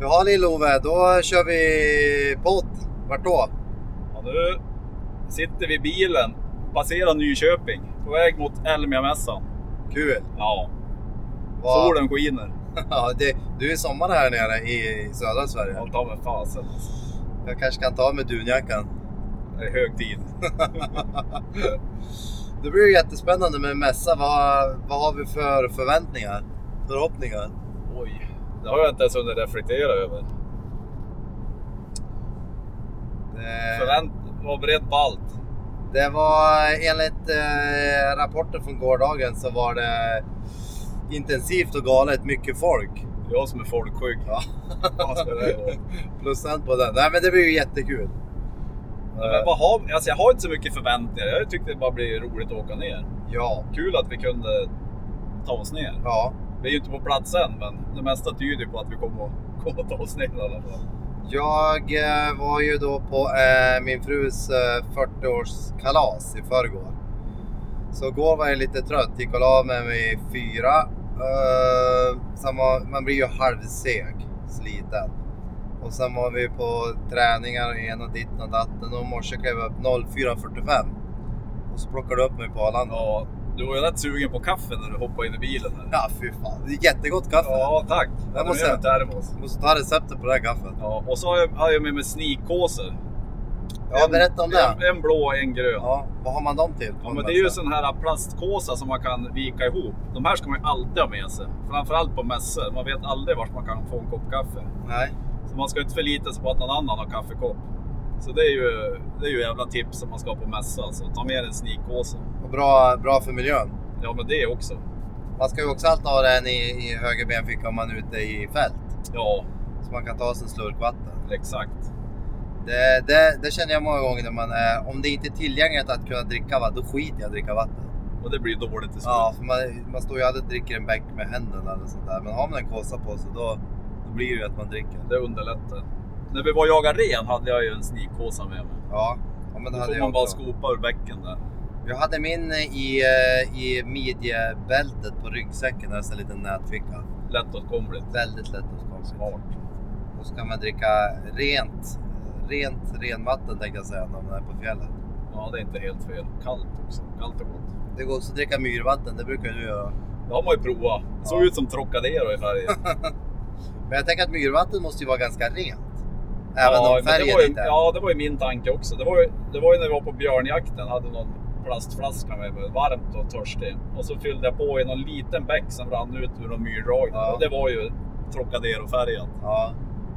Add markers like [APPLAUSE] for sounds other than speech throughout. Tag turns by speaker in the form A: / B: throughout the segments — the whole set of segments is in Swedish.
A: Jaha Lill-Ove, då kör vi podd. Vart då?
B: Ja, nu sitter vi i bilen, passerar Nyköping, på väg mot Elmiamässan.
A: Kul!
B: Ja,
A: Vad-
B: solen skiner.
A: [LAUGHS] Ja, det, du är sommar här nere i, i södra Sverige.
B: Ja, ta mig fasen. alltså.
A: Jag kanske kan ta med dunjackan.
B: Det är hög tid.
A: Det blir ju jättespännande med mässa. Vad, vad har vi för förväntningar? Förhoppningar?
B: Oj, det har jag inte ens hunnit reflektera över.
A: Det,
B: Förvänt, var beredd på allt.
A: det var enligt eh, rapporter från gårdagen så var det intensivt och galet mycket folk.
B: Jag som är folkskygg. [LAUGHS]
A: Ja.
B: Vad ska det
A: [LAUGHS]
B: vara?
A: Procent på den. Nej men det blir ju jättekul. Eh,
B: Men vad har, alltså jag har inte så mycket förväntningar. Jag tyckte det bara blir roligt att åka ner.
A: Ja.
B: Kul att vi kunde ta oss ner.
A: Ja.
B: Vi är ju inte på plats än, men det mesta tyder på att vi kommer att, kommer att ta oss ner i alla fall.
A: Jag eh, var ju då på eh, min frus eh, 40-årskalas i förrgår. Så igår var jag lite trött, gick och la mig vid fyra. Eh, sen var, man blir ju halvseg, sliten. Och sen var vi på träningar och en och ditten och datten och i morse klev jag upp 04.45. Och så plockade du upp mig på Arlanda. Ja,
B: Ja, du var ju rätt sugen på kaffe när du hoppade in i bilen. Här.
A: fy fan. Det är jättegott kaffe.
B: Ja, tack.
A: Jag måste
B: Det är en termos.
A: Måste ta receptet på det här kaffet.
B: Ja, och så har jag, har jag med mig sneakkåsor.
A: Ja,
B: En-
A: berätta om det.
B: En, en blå och en grön.
A: Ja,
B: Ja.
A: vad har man dem till?
B: men det är ju sån här plastkåsa som man kan vika ihop. De här ska man ju alltid ha med sig. Framförallt på mässor. Man vet aldrig vart man kan få en kopp kaffe.
A: Nej.
B: Så man ska inte förlita sig på att någon annan har kaffekopp. Så det är ju, det är ju jävla tips som man ska ha på mässa. Alltså, ta med en sneakkåsa.
A: Och bra, bra för miljön.
B: Ja, men det också.
A: Man ska ju också alltid ha den i, i höger benficka om man är ute i fält.
B: Ja,
A: Så man kan ta sig en slurk vatten.
B: exakt.
A: Det, det, det känner jag många gånger när man är... Om det inte är tillgängligt att kunna dricka vatten, då skiter jag i att dricka vatten.
B: Och det blir dåligt till slut.
A: Ja, för man, man står ju aldrig och dricker en bäck med händerna eller sånt där. Men har man en kåsa på sig, då, då blir det ju att man dricker.
B: Det underlättar. När vi var och jagade ren hade jag ju en sneakkåsa med mig.
A: Ja, ja men det
B: Då
A: hade
B: får
A: jag
B: man bara
A: också.
B: skopa ur bäcken där.
A: Jag hade min i, eh, i midjebältet på ryggsäcken, alltså en liten nätficka.
B: Lättåtkomligt.
A: Väldigt lätt att skapa.
B: Smart.
A: Då ska man dricka rent, rent renvatten tänkte jag säga när man är på fjället.
B: Ja, det är inte helt fel. Kallt också. Kallt och gott.
A: Det går också att dricka myrvatten, det brukar du göra. [LAUGHS]
B: Det har man ju provat. Det såg
A: Ja.
B: ut som Trocadero i färgen.
A: Men jag tänker att myrvatten måste ju vara ganska rent. [LAUGHS] Även
B: ja,
A: om
B: men det
A: färgen
B: var ju,
A: inte är.
B: Ja, det var ju min tanke också. Det var ju, det var ju när vi var på björnjakten. hade någon plastflaska med mig, varmt och törstig. Och så fyllde jag på i någon liten bäck som rann ut ur någon myrdragning.
A: Ja.
B: Och det var ju Trocadero-färgen.
A: Ja,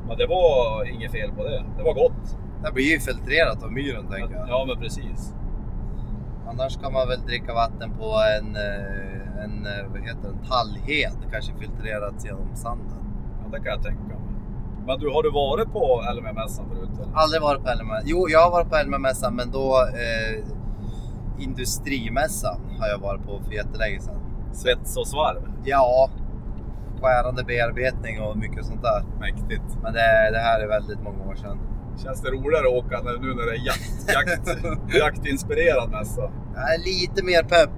B: Men det var inget fel på det. Det var gott.
A: det blir ju filtrerat av myren tänker jag.
B: Ja, men precis.
A: Annars kan man väl dricka vatten på en, eh, en eh, vad heter det, tallhed. Kanske filtrerat genom sanden.
B: Ja, det kan jag tänka mig. Men du, har du varit på LMM-mässan förut? Eller?
A: Aldrig varit på LMS. Jo, jag har varit på LMS-mässan men då eh, industrimässan har jag varit på för jättelänge sedan.
B: Svets och svarv?
A: Ja, skärande bearbetning och mycket sånt där.
B: Mäktigt.
A: Men det, det här är väldigt många år sedan.
B: Känns det roligare att åka när, nu när det är jakt, jakt,
A: [LAUGHS]
B: jaktinspirerad mässa?
A: Jag är lite mer pepp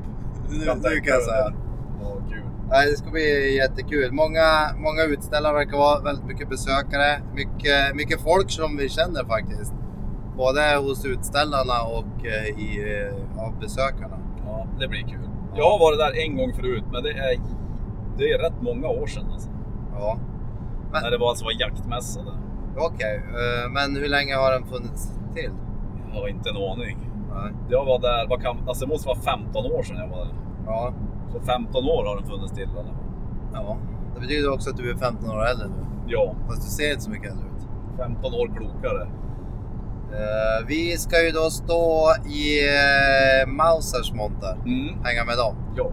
A: nu
B: Jag
A: nu kan
B: tänker
A: jag säga.
B: det. Ja, kul.
A: Nej, det ska bli jättekul. Många, många utställare verkar vara väldigt mycket besökare. Mycket, mycket folk som vi känner faktiskt. Både hos utställarna och eh, i, eh, av besökarna.
B: Ja, det blir kul. Jag har varit där en gång förut, men det är, det är rätt många år sedan. Alltså.
A: Ja. Men-
B: När det var, alltså var jaktmässa där.
A: Okej, eh, men hur länge har den funnits till? Eh,
B: Jag har inte en aning.
A: Nej.
B: Jag var där, vad kan, alltså det måste vara 15 år sedan jag var där.
A: Ja.
B: Så 15 år har den funnits till. Eller?
A: ja. Det betyder också att du är 15 år äldre nu.
B: Ja,
A: Fast du ser inte så mycket äldre ut.
B: 15 år klokare.
A: Eh, vi ska ju då stå i eh, Mausers monter.
B: Mm.
A: Hänga med dem.
B: Ja.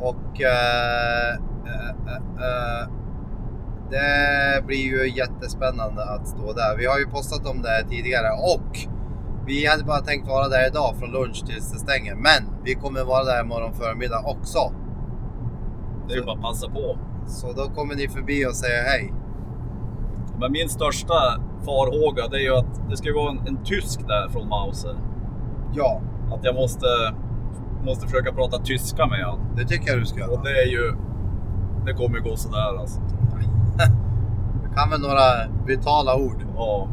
A: Och eh, eh, eh, eh, det blir ju jättespännande att stå där. Vi har ju postat om det här tidigare och vi hade bara tänkt vara där idag från lunch tills det stänger. Men vi kommer vara där imorgon förmiddag också.
B: Det är ju bara att passa på.
A: Så då kommer ni förbi och säger hej.
B: Men min största farhåga det är ju att det ska ju vara en, en tysk där från Mauser.
A: Ja,
B: Att jag måste, måste försöka prata tyska med honom.
A: det tycker jag du ska göra. [LAUGHS]
B: Och det är ju... Det kommer ju gå sådär alltså.
A: Du kan väl några vitala ord?
B: Ja.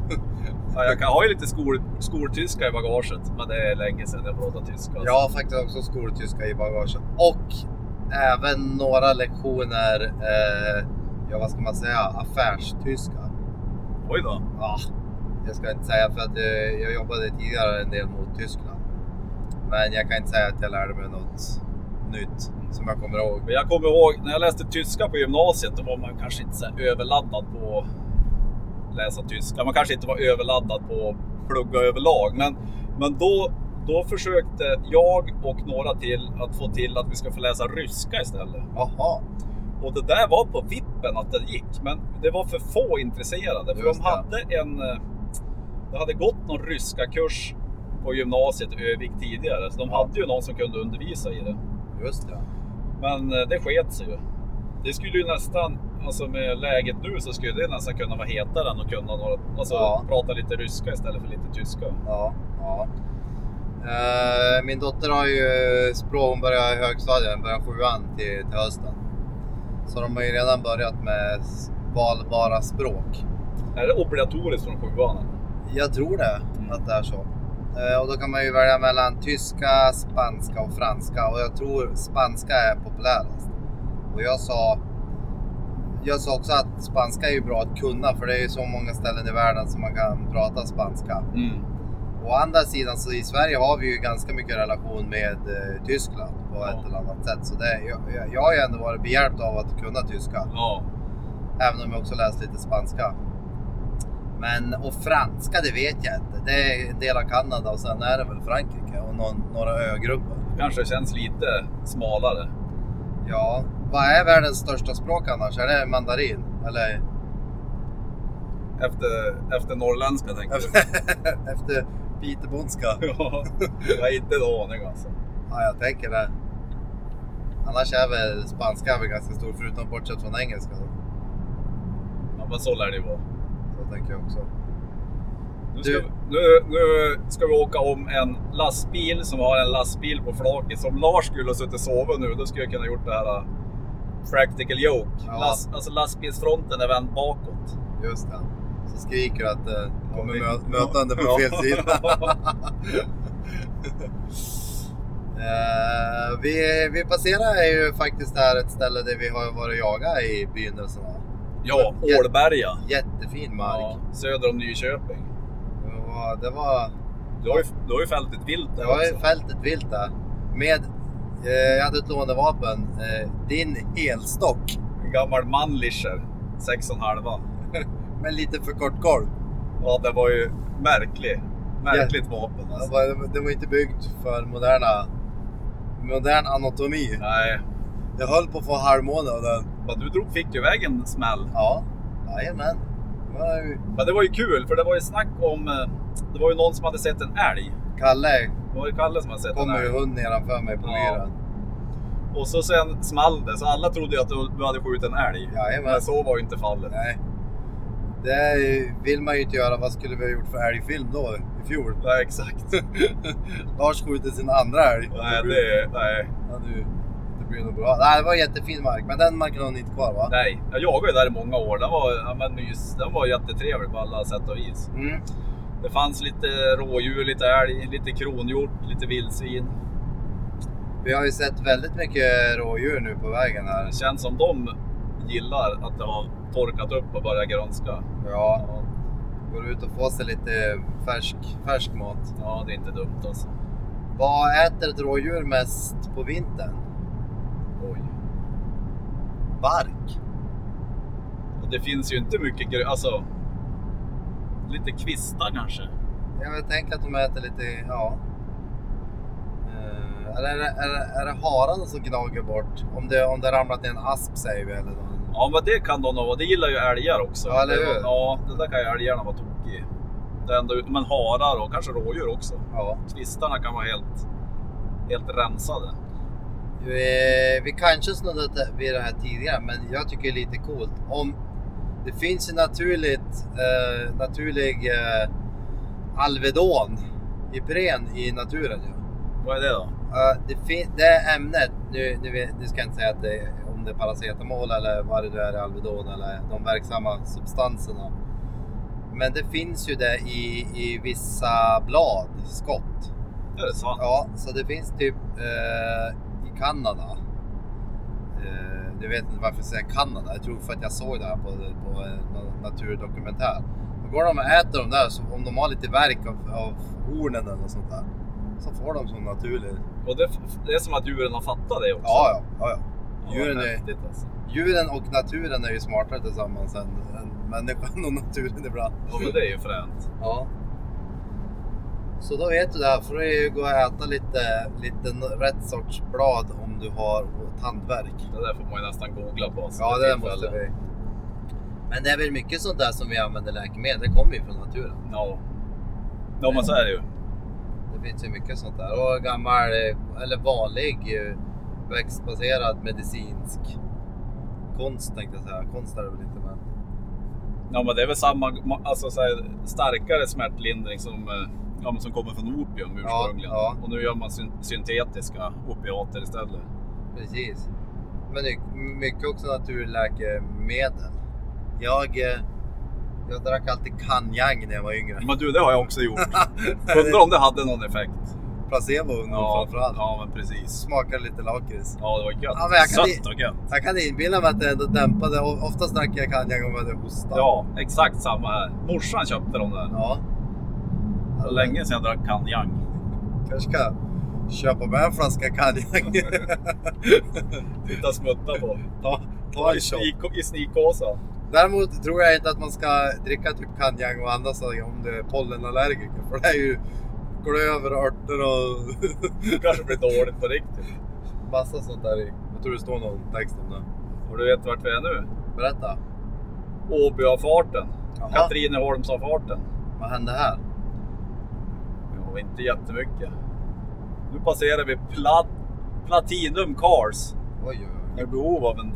B: ja jag kan ha ju lite skol, skoltyska i bagaget, men det är länge sedan jag pratade tyska. alltså.
A: Jag har faktiskt också skoltyska i bagaget. Och även några lektioner, eh, ja vad ska man säga, affärstyska.
B: Oj då.
A: Ja, jag ska inte säga för att eh, jag jobbade tidigare en del mot Tyskland. Men jag kan inte säga att jag lärde mig något nytt som jag kommer ihåg.
B: Men jag kommer ihåg när jag läste tyska på gymnasiet, då var man kanske inte så här överladdad på att läsa tyska. Man kanske inte var överladdad på att plugga överlag. Men, men då, då försökte jag och några till att få till att vi ska få läsa ryska istället.
A: Jaha,
B: Och det där var på vippen att det gick, men det var för få intresserade. För
A: Just
B: de
A: det.
B: hade en... eh, Det hade gått någon ryska kurs på gymnasiet i Övik tidigare, så de hade ju någon som kunde undervisa i det.
A: just det.
B: Men eh, det sket sig ju. Det skulle ju nästan, alltså med läget nu så skulle det nästan kunna vara hetare än att kunna några, alltså
A: Ja.
B: prata lite ryska istället för lite tyska.
A: Ja, ja. Eh, min dotter har ju språk, hon börjar i högstadiet, hon börjar sjuan till, till hösten. Så de har ju redan börjat med s- valbara språk.
B: Är det obligatoriskt från sjuan?
A: Jag tror det,
B: Mm.
A: att det är så. Eh, och då kan man ju välja mellan tyska, spanska och franska. Och jag tror spanska är populärast. Och jag sa, jag sa också att spanska är ju bra att kunna, för det är ju så många ställen i världen som man kan prata spanska.
B: Mm.
A: Å andra sidan så i Sverige har vi ju ganska mycket relation med eh, Tyskland på
B: Ja.
A: ett eller annat sätt. Så det, jag, jag- jag har ju ändå varit behjälpt av att kunna tyska,
B: Ja.
A: även om jag också läst lite spanska. Men, och franska, det vet jag inte. Det är en del av Kanada och sen är det väl Frankrike och någon, några ögrupper.
B: Kanske känns lite smalare.
A: Ja, vad är världens största språk annars? Är det mandarin? Eller [LAUGHS]
B: Efter, efter norrländska tänker
A: [LAUGHS]
B: du?
A: efter pitebondska?
B: ja, [LAUGHS] jag har inte en aning alltså.
A: Ja, jag tänker det. Annars är väl spanska väl ganska stor, förutom bortsett från engelska. Då.
B: Ja, men så lär det ju vara.
A: Så tänker jag också.
B: Nu ska,
A: Du-
B: vi, nu, nu ska vi åka om en lastbil som har en lastbil på flaket. Som Lars skulle ha suttit och sovit nu, då skulle jag kunna gjort det här uh, practical joke.
A: Ja.
B: Last, alltså lastbilsfronten är
A: [LAUGHS]
B: vänd bakåt.
A: Just det. Så skriker du att det kommer
B: Ja,
A: mö-
B: vi-
A: mötande på
B: Ja.
A: fel sida.
B: [LAUGHS]
A: Eh, vi, vi passerar ju faktiskt här ett ställe där vi har varit och jagat i begynnelsen. av.
B: ja,
A: Ja.
B: Ålberga.
A: Jättefin
B: Ja,
A: mark.
B: söder om Nyköping.
A: Det var, det var,
B: Du har ju, du har ju fällt ett vilt
A: det
B: där
A: var ju
B: också.
A: fältet vilt där. Med, eh, jag hade ett lånevapen. Eh, din helstock.
B: En gammal Mannlicher, 6,5.
A: Men lite för kort golv.
B: Ja, det var ju märklig. Märkligt vapen
A: Det
B: alltså.
A: var, det var inte byggt för moderna, modern anatomi.
B: Nej,
A: Jag höll på att få halvmåne av den.
B: men du drog, fick ju iväg en smäll.
A: Ja, jajamän. Det var ju
B: Men det var ju kul, för det var ju snack om... eh, Det var ju någon som hade sett en älg.
A: Kalle
B: Det var ju Kalle som hade sett en
A: kommer ju
B: älg.
A: hund nedanför mig på
B: Ja.
A: myren.
B: Och så sen small det, så alla trodde ju att du du hade skjutit en älg.
A: Jajamän.
B: Men så var ju inte fallet.
A: Nej. Det är ju- vill man ju inte göra. Vad skulle vi ha gjort för älgfilm då i fjol?
B: Nej, exakt.
A: [LAUGHS] Lars skjuter sin andra älg.
B: Nej, det... Nej.
A: Ja, du, det blir nog bra. Nej, det var en jättefin mark, men den marken har ni inte kvar va?
B: Nej. Jag jagade ju där i många år. Den var, ja, men, mys, den var jättetrevlig på alla sätt och vis.
A: Mm.
B: Det fanns lite rådjur, lite älg, lite kronhjort, lite vildsvin.
A: Vi har ju sett väldigt mycket rådjur nu på vägen här.
B: Det känns som de gillar att det har torkat upp och börjat grönska.
A: Ja, går ut och får sig lite färsk, färsk mat.
B: Ja, det är inte dumt alltså.
A: Vad äter ett rådjur mest på vintern?
B: Oj.
A: Bark.
B: Och det finns ju inte mycket grö... Alltså, lite kvistar kanske.
A: Jag tänker att de äter lite, ja. Eh, Eller är det, är, det- är det hararna som gnager bort? Om det, om det ramlat i en asp säger vi. Eller någon.
B: Ja, men det kan de nog vara. Det gillar ju älgar också.
A: Ja, eller hur?
B: Ja, det där kan ju älgarna vara tokiga i. Det enda ut- Men harar och kanske rådjur också.
A: Ja.
B: Kvistarna kan vara helt, helt rensade.
A: Vi, vi kanske snuddade vid det här tidigare, men jag tycker det är lite coolt. Om, det finns ju naturligt, eh, naturlig eh, Alvedon, Ipren, i naturen. Ja.
B: Vad är det då?
A: Ja, det, fin- det ämnet, nu, nu, vet- nu ska jag inte säga att det är, om det är paracetamol eller vad det nu är, Alvedon eller de verksamma substanserna. Men det finns ju det i, i vissa blad, skott.
B: Är det sant?
A: Ja, så det finns typ eh, i Kanada. Eh, du vet inte varför jag säger Kanada, jag tror för att jag såg det här på, på en na- naturdokumentär. Då går de och äter de där, så om de har lite verk av, av hornen eller något sånt där, så får de som naturligt.
B: Och det, det är som att djuren har fattat det också.
A: Ja, ja, ja, ja.
B: Ja,
A: Djuren är-
B: häftigt alltså.
A: Djuren och naturen är ju smartare tillsammans än, än människan och naturen ibland.
B: Ja, men det är ju fränt.
A: Ja. Så då vet du det här, får du ju gå och äta lite, lite rätt sorts blad om du har tandvärk.
B: Det där får man ju nästan googla på. så
A: Ja,
B: det
A: det måste
B: tillfälle.
A: vi. Men det är väl mycket sånt där som vi använder läkemedel, det kommer ju från naturen.
B: Ja. Ja, men så är det ju.
A: Det finns ju mycket sånt där. Och gammal, eh, eller vanlig eh, växtbaserad medicinsk konst tänkte jag säga. Konst är det väl inte men.
B: Ja, men det är väl samma, alltså så här, starkare smärtlindring som, eh, ja, men som kommer från opium ursprungligen.
A: ja.
B: Och nu gör man syn- syntetiska opiater istället.
A: Precis. Men det- mycket också naturläkemedel. Jag, eh, jag drack alltid kanjang när jag var
B: [LAUGHS]
A: yngre.
B: Men du, det har jag också
A: [LAUGHS]
B: gjort. Undrar om det hade någon effekt.
A: Placebo ja, framförallt.
B: ja men precis.
A: Smakade lite lakrits.
B: Ja, det var gött.
A: Ja, men jag kan
B: Sött och gött.
A: Jag kan inbilla mig att det ändå dämpade. O- Oftast drack jag kanjang om jag hade hosta.
B: Ja, exakt samma här. Morsan köpte de där.
A: ja.
B: Det var länge sedan jag drack kanjang.
A: Kanske ska köpa med en flaska kanjang. [LAUGHS]
B: Sitta och smutta på.
A: ta, ta
B: [LAUGHS] I,
A: en shot.
B: sneak, i sneakhåsan.
A: Däremot tror jag inte att man ska dricka typ kanjang och annat så- om du är pollenallergiker. För det är ju klöver, örter och
B: [LAUGHS] kanske blir dåligt på riktigt.
A: Massa sånt där i. Jag tror det står någon text om det.
B: Och du vet vart vi är nu?
A: Berätta.
B: Åbyavfarten.
A: Jaha.
B: Katrineholmsavfarten.
A: Vad hände här?
B: Ja, inte jättemycket. Nu passerar vi plat Platinum Cars.
A: Oj, oj,
B: Jag
A: oj.
B: är i behov av en...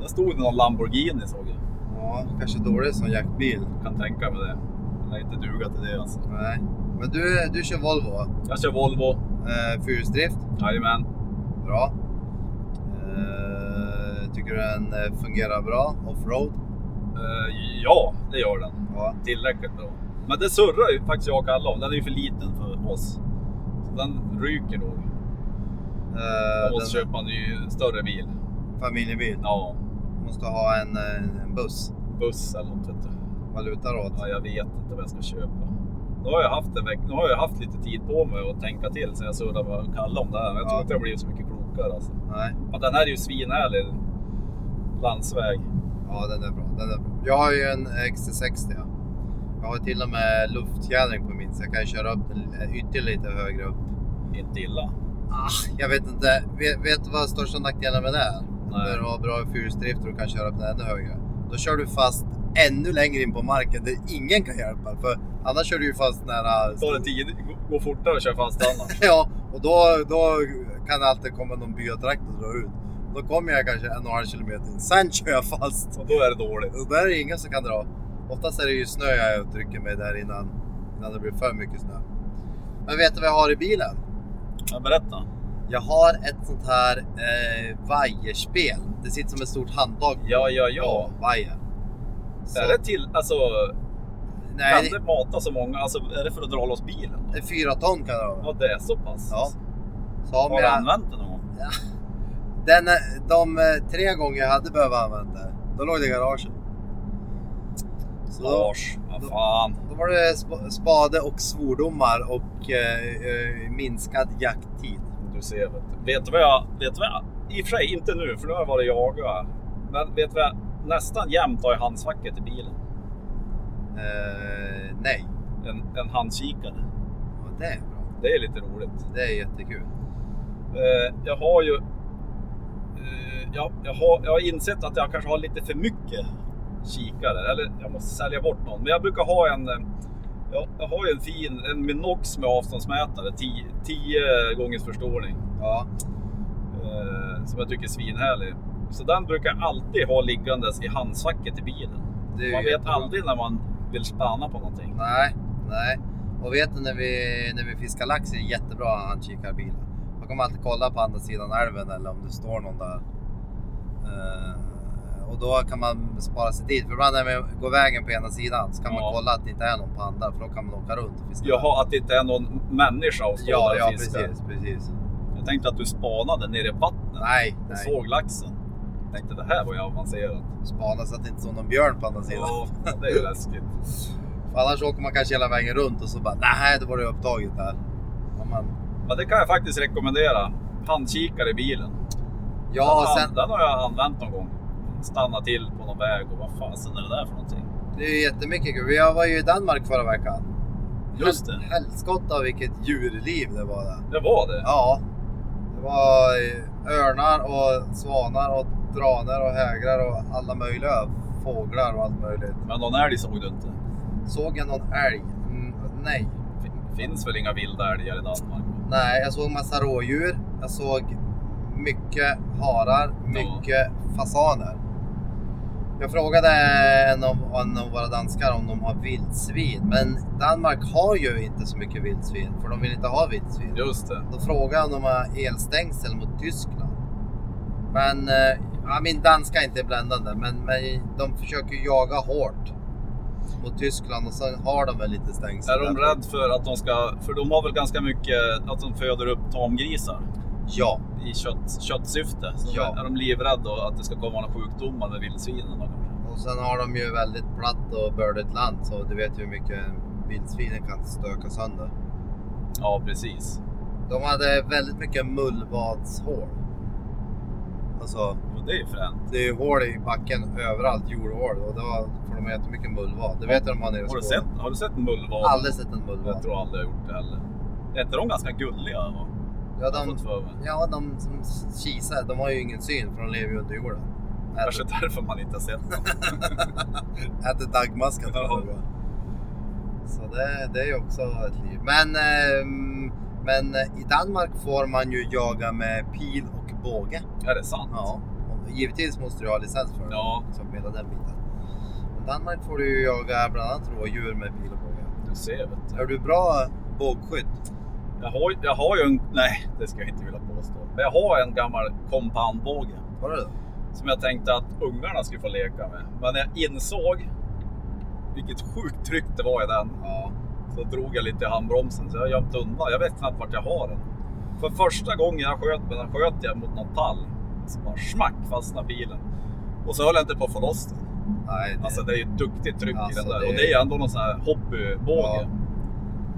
B: Där stod det någon Lamborghini såg jag.
A: Ja, kanske dålig som jaktbil.
B: Kan tänka mig det. Jag lär inte duga till det alltså.
A: Nej. Men du, du kör Volvo.
B: Jag kör Volvo.
A: Eh, Fyrhjulsdrift.
B: Jajamän.
A: Bra. Eh, tycker du den eh, fungerar bra? Offroad?
B: Eh, ja, det gör den.
A: Ja.
B: tillräckligt bra. Men det surrar ju faktiskt jag och Kalle om. Den är ju för liten för oss. Så den ryker nog.
A: Eh,
B: Jag måste
A: den-
B: köpa en ny större bil.
A: Familjebil.
B: Ja,
A: Måste ha en, eh, en buss.
B: buss eller något. Vet du.
A: Vad lutar åt.
B: Ja, jag vet inte vad jag ska köpa. Nu har, jag haft en veck... nu har jag haft lite tid på mig att tänka till sen jag surrade med Kalle om det här. Jag tror
A: Ja.
B: inte jag blivit så mycket klokare. Alltså.
A: Nej.
B: Men den här är ju svinhärlig. Landsväg.
A: Ja, den är bra. Den är bra. Jag har ju en XT60. Ja. Jag har till och med luftfjädring på min så jag kan köra upp den ytterligare lite högre upp.
B: Inte illa.
A: Ah, jag vet inte. Vet, vet du vad största nackdelen med det är?
B: Nej.
A: När du har bra fyrhjulsdrift och du kan köra upp den ännu högre. Då kör du fast ännu längre in på marken där ingen kan hjälpa. För annars kör du ju fast nära...
B: Tar det tid, går fortare att köra fast annars.
A: [LAUGHS] Ja, och då, då kan det alltid komma någon byatraktor och dra ut. Då kommer jag kanske en och en halv kilometer in. Sen kör jag fast.
B: Och då är det dåligt.
A: Och där är det ingen som kan dra. Oftast är det ju snö jag trycker mig där innan, innan det blir för mycket snö. Men vet du vad jag har i bilen?
B: Ja, berätta.
A: Jag har ett sånt här eh, vajerspel. Det sitter som ett stort handtag.
B: Ja, ja, ja.
A: Vajer. Så,
B: Är det till, alltså,
A: nej,
B: Kan det mata så många? Alltså, är det för att dra loss bilen?
A: det är fyra ton kan det vara.
B: Ja, det är så pass.
A: Ja. Så om
B: Har du
A: jag,
B: använt den någon gång?
A: den, de eh, tre gånger jag hade behövt använda det, då låg det i garaget. Så då,
B: Lars, vad fan.
A: då var det sp- spade och svordomar och eh, eh, minskad jakttid.
B: Du ser, vet du. Vet du vad jag... Vet du vad jag I och för sig inte nu, för nu har jag varit jaga. Men vet du vad jag nästan jämt har i handskfacket i bilen?
A: Eh, nej,
B: En, en handkikare.
A: Och det är bra.
B: Det är lite roligt.
A: Det är jättekul.
B: Eh, jag har ju... Eh, jag, jag, har, jag har insett att jag kanske har lite för mycket kikare. Eller jag måste sälja bort någon. Men jag brukar ha en... eh, Jag, jag har ju en fin en Minox med avståndsmätare. 10 gångers förstoring.
A: Ja,
B: eh, som jag tycker är svinhärlig. Så den brukar jag alltid ha liggandes i handskfacket i bilen.
A: det är ju
B: Man vet
A: jättebra.
B: aldrig när man vill spana på någonting.
A: Nej, nej. Och vet du när vi, när vi fiskar lax är det jättebra att ha handkikarbil. Man kommer alltid kolla på andra sidan älven eller om det står någon där. Eh, och då kan man spara sig tid. För ibland när man går vägen på ena sidan så kan man
B: Ja.
A: kolla att det inte är någon på andra för då kan man åka runt och fiska. lax.
B: Jaha, att det inte är någon människa och står
A: ja,
B: där
A: ja
B: och fiskar.
A: precis, precis.
B: Jag tänkte att du spanade nere i vattnet.
A: Nej,
B: Jag
A: nej.
B: såg laxen. Jag tänkte det här var ju avancerat.
A: Spana så att det inte står någon björn på andra sidan.
B: Ja, det är ju läskigt.
A: För annars åker man kanske hela vägen runt och så bara nej, det var det upptaget där. Ja, man,
B: Men det kan jag faktiskt rekommendera. Handkikare i bilen.
A: ja och
B: den,
A: sen,
B: den har jag använt någon gång. Stanna till på någon väg och vad fasen är det där för någonting?
A: Det är ju jättemycket kul. Jag var ju i Danmark förra veckan.
B: Just det.
A: Helskotta vilket djurliv det var där.
B: Det var det.
A: Ja. Det var eh, örnar och svanar och dranar och hägrar och alla möjliga fåglar och allt möjligt.
B: Men någon älg såg du inte?
A: Såg jag någon älg? Mm, nej.
B: Fin- finns väl inga vilda älgar i Danmark?
A: Nej, jag såg massa rådjur. Jag såg mycket harar, mycket fasaner. Jag frågade en av, en av våra danskar om de har vildsvin, men Danmark har ju inte så mycket vildsvin för de vill inte ha vildsvin.
B: Just det.
A: Då frågade jag om de har elstängsel mot Tyskland. Men, eh, ja, min danska är inte bländande, men, men de försöker ju jaga hårt mot Tyskland och sen har de väl lite stängsel.
B: Är de
A: där.
B: rädda för att de ska... För de har väl ganska mycket att de föder upp tamgrisar
A: Ja.
B: i kött, köttsyfte. Så
A: Ja.
B: Är de livrädda då att det ska komma några sjukdomar med vildsvinen? då kanske?
A: Och sen har de ju väldigt platt och bördigt land så du vet ju hur mycket vildsvinen kan stöka sönder.
B: Ja, precis.
A: De hade väldigt mycket mullvadshål. Alltså,
B: Och det är ju fränt.
A: det är ju hål i backen överallt, jordhål. Och då får de jättemycket mullvad. Det vet jag de har nere i
B: Har du
A: Skåne.
B: sett, har du sett mullvad?
A: Aldrig sett en
B: Jag
A: mullvad.
B: tror aldrig jag har gjort det heller. Är inte de ganska gulliga? va?
A: Ja,
B: Jag har
A: de,
B: fått för mig.
A: ja, de som kisar, de har ju ingen syn för de lever ju under jorden.
B: Kanske
A: Äter,
B: därför man inte har sett dem.
A: [LAUGHS] äter daggmaskar tror jag. Så det, det är ju också ett liv. Men, ehm, men i Danmark får man ju jaga med pil och båge.
B: Är det sant?
A: Ja. Och givetvis måste du ha licens för det.
B: Ja,
A: Som hela den biten. I Danmark får du ju jaga bland annat rådjur med pil och båge.
B: du ser. Vet du.
A: Är du bra bågskytt?
B: Jag, har, jag har ju en... Nej, det ska jag inte vilja påstå. Men jag har en gammal kompanbåge.
A: Har du det?
B: som jag tänkte att ungarna skulle få leka med. Men när jag insåg vilket sjukt tryck det var i den
A: Ja.
B: så drog jag lite i handbromsen så jag gömde undan. Jag vet knappt vart jag har den. För första gången jag sköt med den sköt jag mot någon pall. Så bara smack fastnade bilen. Och så höll jag inte på att få loss den.
A: Nej, det,
B: Alltså det är ju ett duktigt tryck
A: Alltså,
B: i den där.
A: det är-
B: Och det är ändå någon sån här
A: Ja.
B: hobbybåge.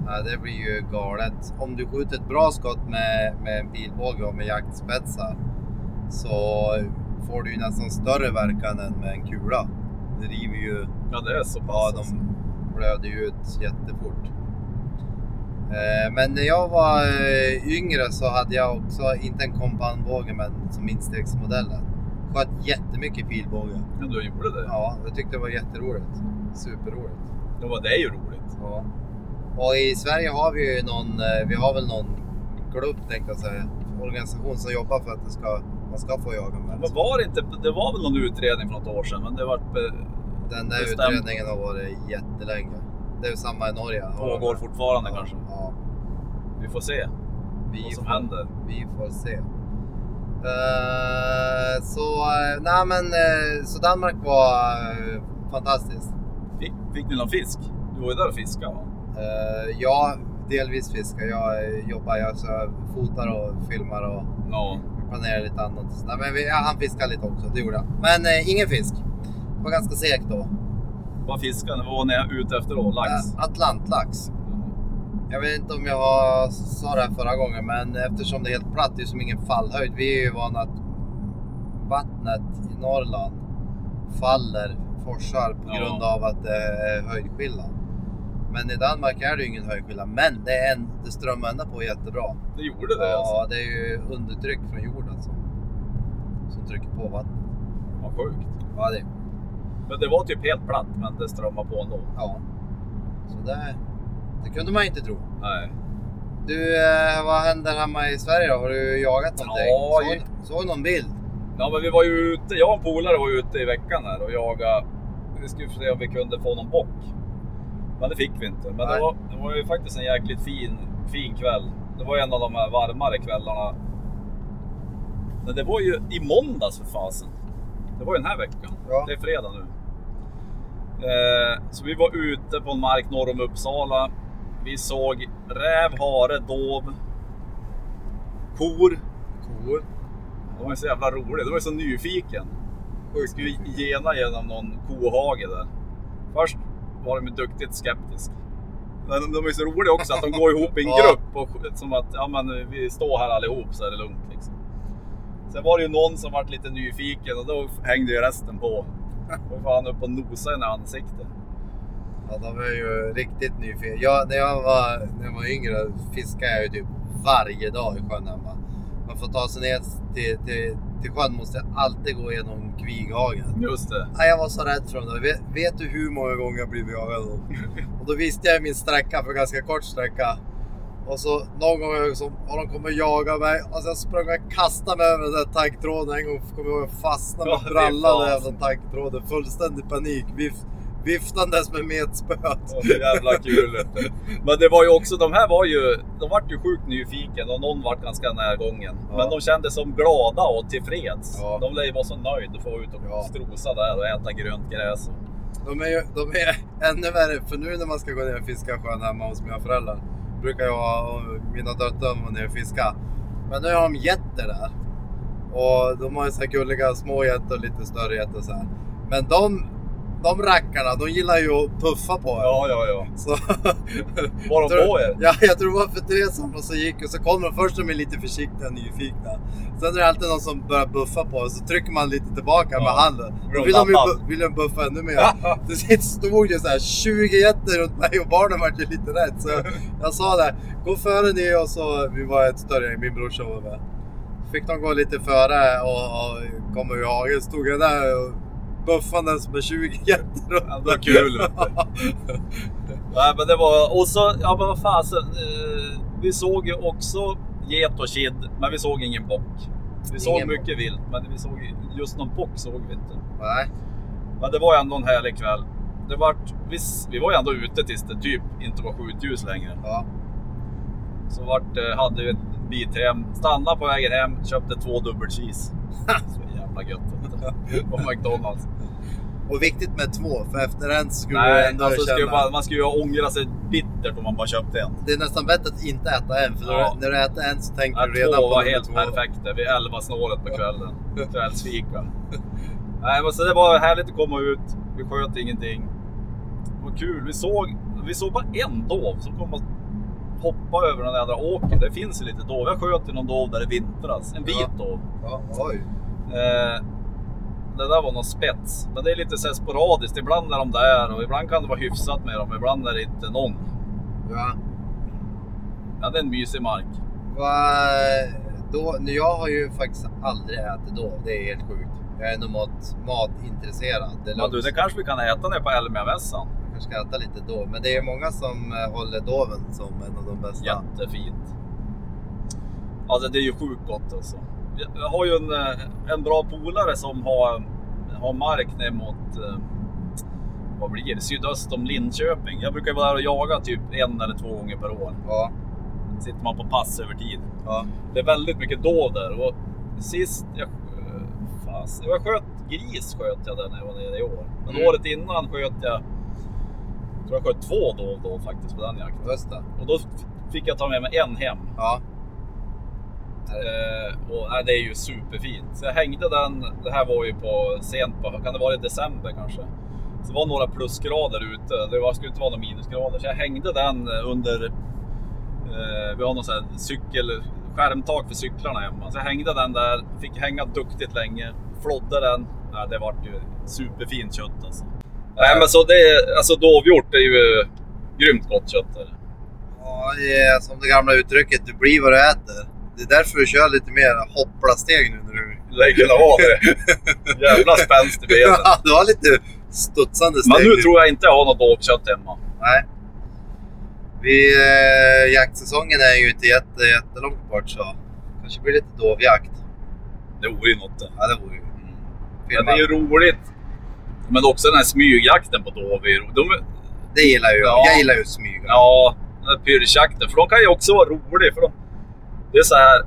A: nej, det blir ju galet. Om du skjuter ett bra skott med, med en pilbåge och med jaktspetsar så får du ju nästan större verkan än med en kula. Det river ju
B: Ja, det är så pass.
A: Ja,
B: alltså.
A: de blöder ju ut jättefort. Eh, Men när jag var eh, yngre så hade jag också, inte en kompanbåge, men som instegsmodellen. Sköt jättemycket pilbåge.
B: Men du gjorde det.
A: Ja, jag tyckte det var jätteroligt. Superroligt.
B: Det, var, det är ju roligt.
A: Ja. Och i Sverige har vi ju någon, eh, vi har väl någon klubb tänkte jag säga, organisation som jobbar för att det ska, man ska få jaga med.
B: Men var det, inte, det var väl någon utredning för något år sedan, men det eh, var
A: Den där
B: bestämt.
A: utredningen har varit jättelänge. Det är ju samma i Norge.
B: pågår fortfarande kanske.
A: Ja.
B: Vi får se
A: Vi
B: vad som
A: får-
B: händer.
A: Vi får se. Eh, så, eh, nej men, eh, så Danmark var eh, fantastiskt.
B: Fick, fick ni någon fisk? Du var ju där och fiskade va?
A: Eh, ja, delvis fiskar jag. eh, jobbar jag så jag fotar och filmar och
B: Ja.
A: planerar lite annat. Så, nej, men vi, ja, han fiskade lite också, det gjorde han. Men eh, ingen fisk. Det var ganska segt då.
B: Vad fiskade ni? Vad var ni ute efter då? Lax? Mm.
A: Eh, Atlantlax. Jag vet inte om jag har- sa det här förra gången, men eftersom det är helt platt, det är som ingen fallhöjd. Vi är ju vana att vattnet i Norrland faller, forsar på
B: Ja.
A: grund av att det är höjdskillnad. Men i Danmark är det ju ingen höjdskillnad, men det, är en, det strömmar ändå på jättebra.
B: Det gjorde det alltså?
A: Ja, det är ju undertryck från jorden som, som trycker på vattnet.
B: Vad sjukt.
A: Ja, det,
B: Men det var typ helt platt, men det strömmade på ändå.
A: ja. Så det, det kunde man ju inte tro.
B: Nej.
A: Du, eh, vad händer hemma i Sverige då? Har du jagat någonting?
B: Ja,
A: såg, såg någon bild?
B: Ja, men vi var ju ute. Jag och en polare var ju ute i veckan här och jagade. Vi skulle se om vi kunde få någon bock. Men det fick vi inte. Men det
A: Nej.
B: var, det var ju faktiskt en jäkligt fin, fin kväll. Det var en av de här varmare kvällarna. Men det var ju i måndags för fasen. Det var ju den här veckan.
A: Ja.
B: Det är fredag nu. Eh, så vi var ute på en mark norr om Uppsala. Vi såg räv, hare, dov, kor.
A: Kor.
B: De var ju så jävla roliga. De var ju så nyfiken. Vi skulle gena genom någon kohage där. Först var de ju duktigt skeptisk. Men de, de är så roliga också att de går ihop i en
A: Ja.
B: grupp. Och, som att ja, men, vi står här allihop så är det lugnt. Liksom. Sen var det ju någon som vart lite nyfiken och då hängde ju resten på. Då var han upp och nosade i ansiktet.
A: Ja, de är ju riktigt nyfikna. Jag, när, jag var, när jag var yngre fiskade jag ju typ varje dag i sjön hemma. Man får ta sig ner till, till, till sjön måste jag alltid gå igenom kvighagen.
B: Just det.
A: Nej, jag var så rädd för dem. där. Vet, vet du hur många gånger jag blivit jagad då? Och då visste jag min sträcka, för ganska kort sträcka. Och så någon gång har jag liksom, och de kommer jaga mig. Och sen sprang jag och kastade mig över den där taggtråden en gång. Kommer jag ihåg, jag fastnade
B: Ja,
A: med
B: det är
A: brallan i
B: fasen.
A: den jävla taggtråden. Fullständig panik. Vif, viftandes med metspöet.
B: Och så jävla kul. vet du. Men det var ju också, de här var ju, de vart ju sjukt nyfiken och någon vart ganska närgången.
A: Ja.
B: Men de kände som glada och tillfreds.
A: Ja.
B: De lär ju vara så nöjda att få ut och
A: Ja.
B: strosa där och äta grönt gräs.
A: De är, ju, de är ännu värre, för nu när man ska gå ner och fiska i sjön hemma hos mina föräldrar brukar jag och mina döttrar vara ner och fiska. Men nu har de getter där. Och de har ju så här gulliga små getter och lite större getter så här. Men de, de rackarna, de gillar ju att puffa på en.
B: Ja, ja, ja. [LAUGHS]
A: Så,
B: Var de
A: Tror-
B: på er?
A: ja, jag tror det var för tre som och så gick och så kommer de först de är lite försiktiga och nyfikna. Sen är det alltid någon som börjar buffa på och så trycker man lite tillbaka
B: Ja.
A: med handen. Då vill de ju bu- vill de buffa ännu mer. Till sist stod ju så här 20 getter runt mig och barnen vart ju lite rädd. Så jag sa det, gå före ni och så, vi var ett större gäng, min brorsa var med. Fick de gå lite före och, och komma ur hagen, stod jag där och buffandes med 20 getter
B: Ja,
A: runt
B: det var kul, vet [LAUGHS] Nej, men det var... Och så, ja men vad fasen. Eh, vi såg ju också get och kid, men vi såg ingen bock. Vi såg
A: Ingen bock.
B: mycket vilt, men vi såg just någon bock såg vi inte.
A: [LAUGHS] Nej,
B: Men det var ändå en härlig kväll. Det vart, vi, s- vi var ju ändå ute tills det typ inte var skjutljus längre.
A: ja.
B: Så vart, eh, hade vi en bit hem, stannade på vägen hem, köpte två dubbel cheese.
A: [LAUGHS]
B: Så jävla gött. vet du. På McDonalds.
A: Och viktigt med två, för efter en så skulle du
B: Nej,
A: ändå
B: alltså,
A: känna...
B: skulle man, man skulle ju ångra sig bittert om man bara köpte en.
A: Det är nästan bättre att inte äta en, för när
B: Ja.
A: du- när du äter en så tänker
B: Ja,
A: du redan
B: två
A: på
B: var
A: nummer
B: helt
A: två.
B: perfekta vid 11-snåret på kvällen.
A: [LAUGHS]
B: Kvällsfika. Nej, men så det var härligt att komma ut. Vi sköt ingenting. Det var kul. Vi såg, vi såg bara en dov som kom och hoppade över den där jävla åkern. Det finns ju lite dov. Jag sköt ju någon dov där i vintras. En vit
A: Ja.
B: dov.
A: Ja, oj.
B: Eh, det där var någon spets. Men det är lite så här sporadiskt. Ibland är de där och ibland kan det vara hyfsat med dem. Ibland är det inte någon.
A: Ja.
B: Ja, det är en mysig mark.
A: Vad- Då, nu, jag har ju faktiskt aldrig ätit dov, det är helt sjukt. Jag är ändå mat, matintresserad. Det
B: Men du, det kanske vi kan äta nere på Elmiamässan.
A: Jag kanske ska äta lite dov, men det är ju många som eh, håller doven som en av de bästa.
B: Jättefint. Alltså det är ju sjukt gott alltså. Jag- Jag har ju en, eh, en bra polare som har, har mark ner mot, eh, vad blir det, sydöst om Linköping. Jag brukar vara där och jaga typ en eller två gånger per år.
A: Ja,
B: Sitter man på pass över tid.
A: ja,
B: Det är väldigt mycket dov där och sist jag, eh, fast, jag sköt gris sköt jag där när jag var nere i år. Men
A: Mm.
B: året innan sköt jag tror jag sköt två då och då faktiskt på den jakten.
A: Just det.
B: Och då f- fick jag ta med mig en hem.
A: Ja.
B: Eh, och, nej, det är ju superfint. Så jag hängde den, det här var ju på sent på, kan det vara i december kanske? Så det var några plusgrader ute, det var, skulle inte vara några minusgrader. Så jag hängde den under, eh, vi har någon sån här cykel, skärmtak för cyklarna hemma. Så jag hängde den där, fick hänga duktigt länge, flodde den. Ja, det vart ju superfint kött alltså. Nej men så det, är- alltså dovhjort är ju grymt gott kött. Är det.
A: Ja, det är som det gamla uttrycket, du blir vad du äter. Det är därför du kör lite mer hoppla-steg nu när du...
B: Lär ju kunna vara [LAUGHS] det. Jävla spänst
A: [LAUGHS]
B: i benen.
A: Ja, du har lite studsande steg.
B: Men nu tror jag inte jag har något dovkött hemma.
A: Nej. Vi, eh, jaktsäsongen är ju inte jätte, jättelångt bort så kanske blir lite dovjakt.
B: Det vore ju något det.
A: Ja, det vore ju... mm.
B: Men det är ju roligt. Men också den här smygjakten på dov. är ju ro- De,
A: Det gillar ju jag.
B: Ja.
A: Jag gillar ju att smyga.
B: ja, den här pyrschjakten. För de kan ju också vara rolig. För de, det är så här.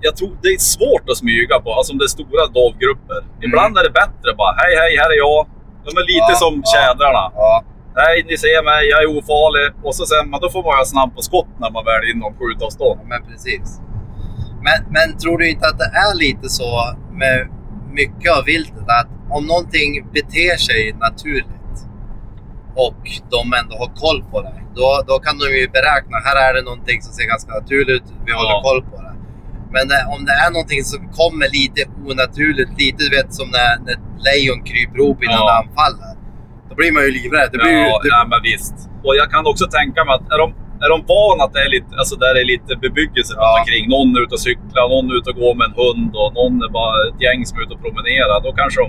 B: Jag tror det är svårt att smyga på, alltså om det är stora dovgrupper. Ibland är det bättre bara, hej hej, här är jag. De är lite
A: Mm. Ja,
B: som
A: ja.
B: tjädrarna.
A: Ja,
B: Hej, ni ser mig, jag är ofarlig. Och så sen, men då får man vara snabb på skott när man väl är inom skjutavstånd.
A: men precis. Men, men tror du inte att det är lite så med mycket av viltet att om någonting beter sig naturligt och de ändå har koll på det, då, då kan de ju beräkna här är det någonting som ser ganska naturligt ut, vi håller
B: Ja.
A: koll på det. Men eh, om det är någonting som kommer lite onaturligt, lite du vet som när, när ett lejon kryper ihop innan
B: Ja.
A: det anfaller, då blir man ju livrädd. Det blir, ju-
B: ja,
A: det,
B: ja, men visst. Och jag kan också tänka mig att är de, är de vana att det är lite, alltså där är lite bebyggelse runt
A: Ja.
B: omkring. Någon är ute och cyklar, någon är ute och går med en hund och någon är bara ett gäng som är ute och promenerar. Då kanske de...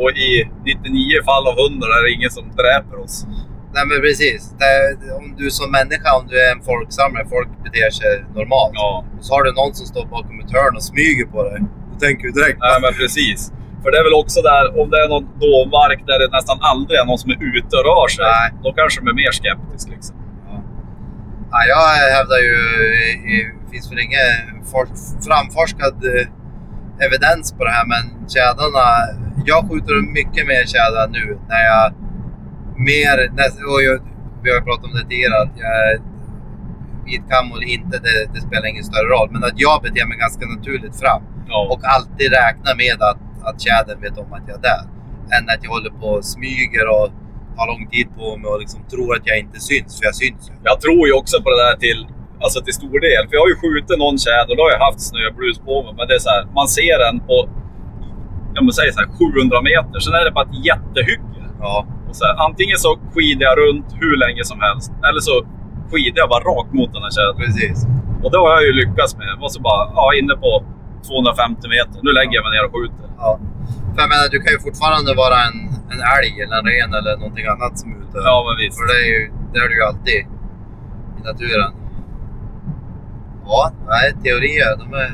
B: Och i 99 fall av 100 är det ingen som dräper oss.
A: Nej men precis. Det, om du som människa, om du är en folksamlare, folk beter sig normalt.
B: Ja,
A: Och så har du någon som står bakom ett hörn och smyger på dig. Då tänker du direkt
B: nej, men precis. För det är väl också där, om det är någon dovmark där det nästan aldrig är någon som är ute och rör sig.
A: Nej.
B: Då kanske de är mer skeptiska. Liksom.
A: ja, jag hävdar ju, eh, det finns väl ingen for- framforskad eh, evidens på det här, men tjädrarna, jag skjuter mycket mer tjädrar nu när jag mer, näst- och jag, vi har ju pratat om det tidigare, att jag vitkam eller inte, det, det spelar ingen större roll, men att jag beter mig ganska naturligt fram.
B: Ja.
A: och alltid räkna med att, att tjädern vet om att jag är där. Än att jag håller på och smyger och har lång tid på mig och liksom tror att jag inte syns, för jag syns ju.
B: Jag tror ju också på det där till, alltså till stor del. För jag har ju skjutit någon tjäder och då har jag haft snöblus på mig. Men det är så här, man ser den på ja, men säg så här, 700 meter, sen är det bara ett jättehygge.
A: Ja,
B: Och så här, antingen så skidar jag runt hur länge som helst, eller så skidar jag bara rakt mot den här tjädern.
A: precis.
B: Och det har jag ju lyckats med. Jag var så bara, ja, inne på 250 meter. Nu lägger jag mig ner och skjuter.
A: Ja. För jag menar, du kan ju fortfarande vara en, en älg eller en ren eller någonting annat som är ute.
B: Ja, men visst.
A: För det är, ju, det är du ju alltid i naturen. Ja, nej, teorier, de, är,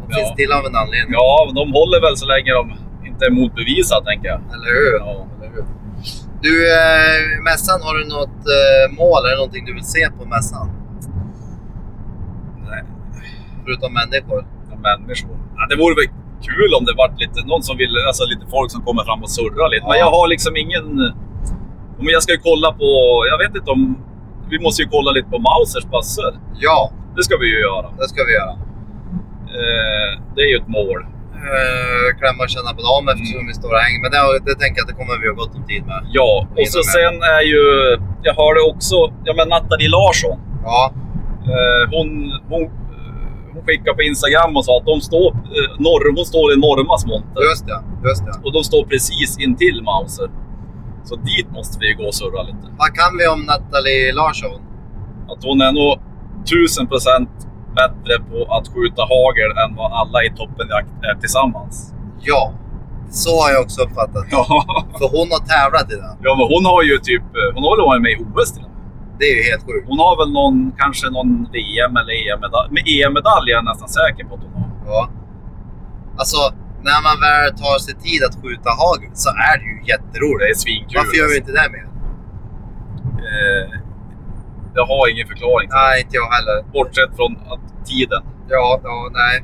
A: de
B: Ja.
A: finns till av en anledning.
B: Ja, men de håller väl så länge de inte är motbevisade, tänker jag.
A: Eller hur?
B: Ja,
A: Eller hur? Du, eh, mässan, har du något eh, mål? Är det någonting du vill se på mässan?
B: Nej.
A: Förutom människor?
B: av människor. Ja, det vore väl kul om det vart lite, någon som vill, alltså lite folk som kommer fram och surrar lite. Men
A: Ja.
B: jag har liksom ingen... Men jag ska ju kolla på, jag vet inte om... Vi måste ju kolla lite på Mausers bössor.
A: Ja,
B: Det ska vi ju göra.
A: det ska vi göra.
B: Eh, det är ju ett mål.
A: Eh, klämma och känna på
B: Mm.
A: dem eftersom vi står och hänger. Men det, har- det tänker jag att det kommer vi ha gott om tid med.
B: Ja, och så sen är ju... Jag hörde också, ja men Nathalie Larsson.
A: Ja,
B: Eh, hon, hon, eh, hon skickade på Instagram och sa att de står, eh, norr, hon står i Normas monter.
A: just det. Just det.
B: Och de står precis intill Mauser. Så dit måste vi ju gå och surra lite.
A: Vad kan vi om Nathalie Larsson?
B: Att hon är nog tusen procent bättre på att skjuta hagel än vad alla i toppenjakt är tillsammans.
A: Ja, så har jag också uppfattat
B: Ja,
A: För hon har tävlat i det.
B: [LAUGHS] ja men hon har ju typ... Hon har väl varit med i OS till och med.
A: Det är ju helt sjukt.
B: Hon har väl någon, kanske någon VM eller E EM-medalj. Med EM-medalj är jag nästan säker på att hon har.
A: Ja. Alltså, när man väl tar sig tid att skjuta hagel så är det ju
B: Det är
A: jätteroligt.
B: svinkul.
A: Varför gör vi inte det mer?
B: Eh, jag har ingen förklaring. till
A: Nej, inte jag heller.
B: det. Bortsett från att tiden.
A: Ja, ja nej.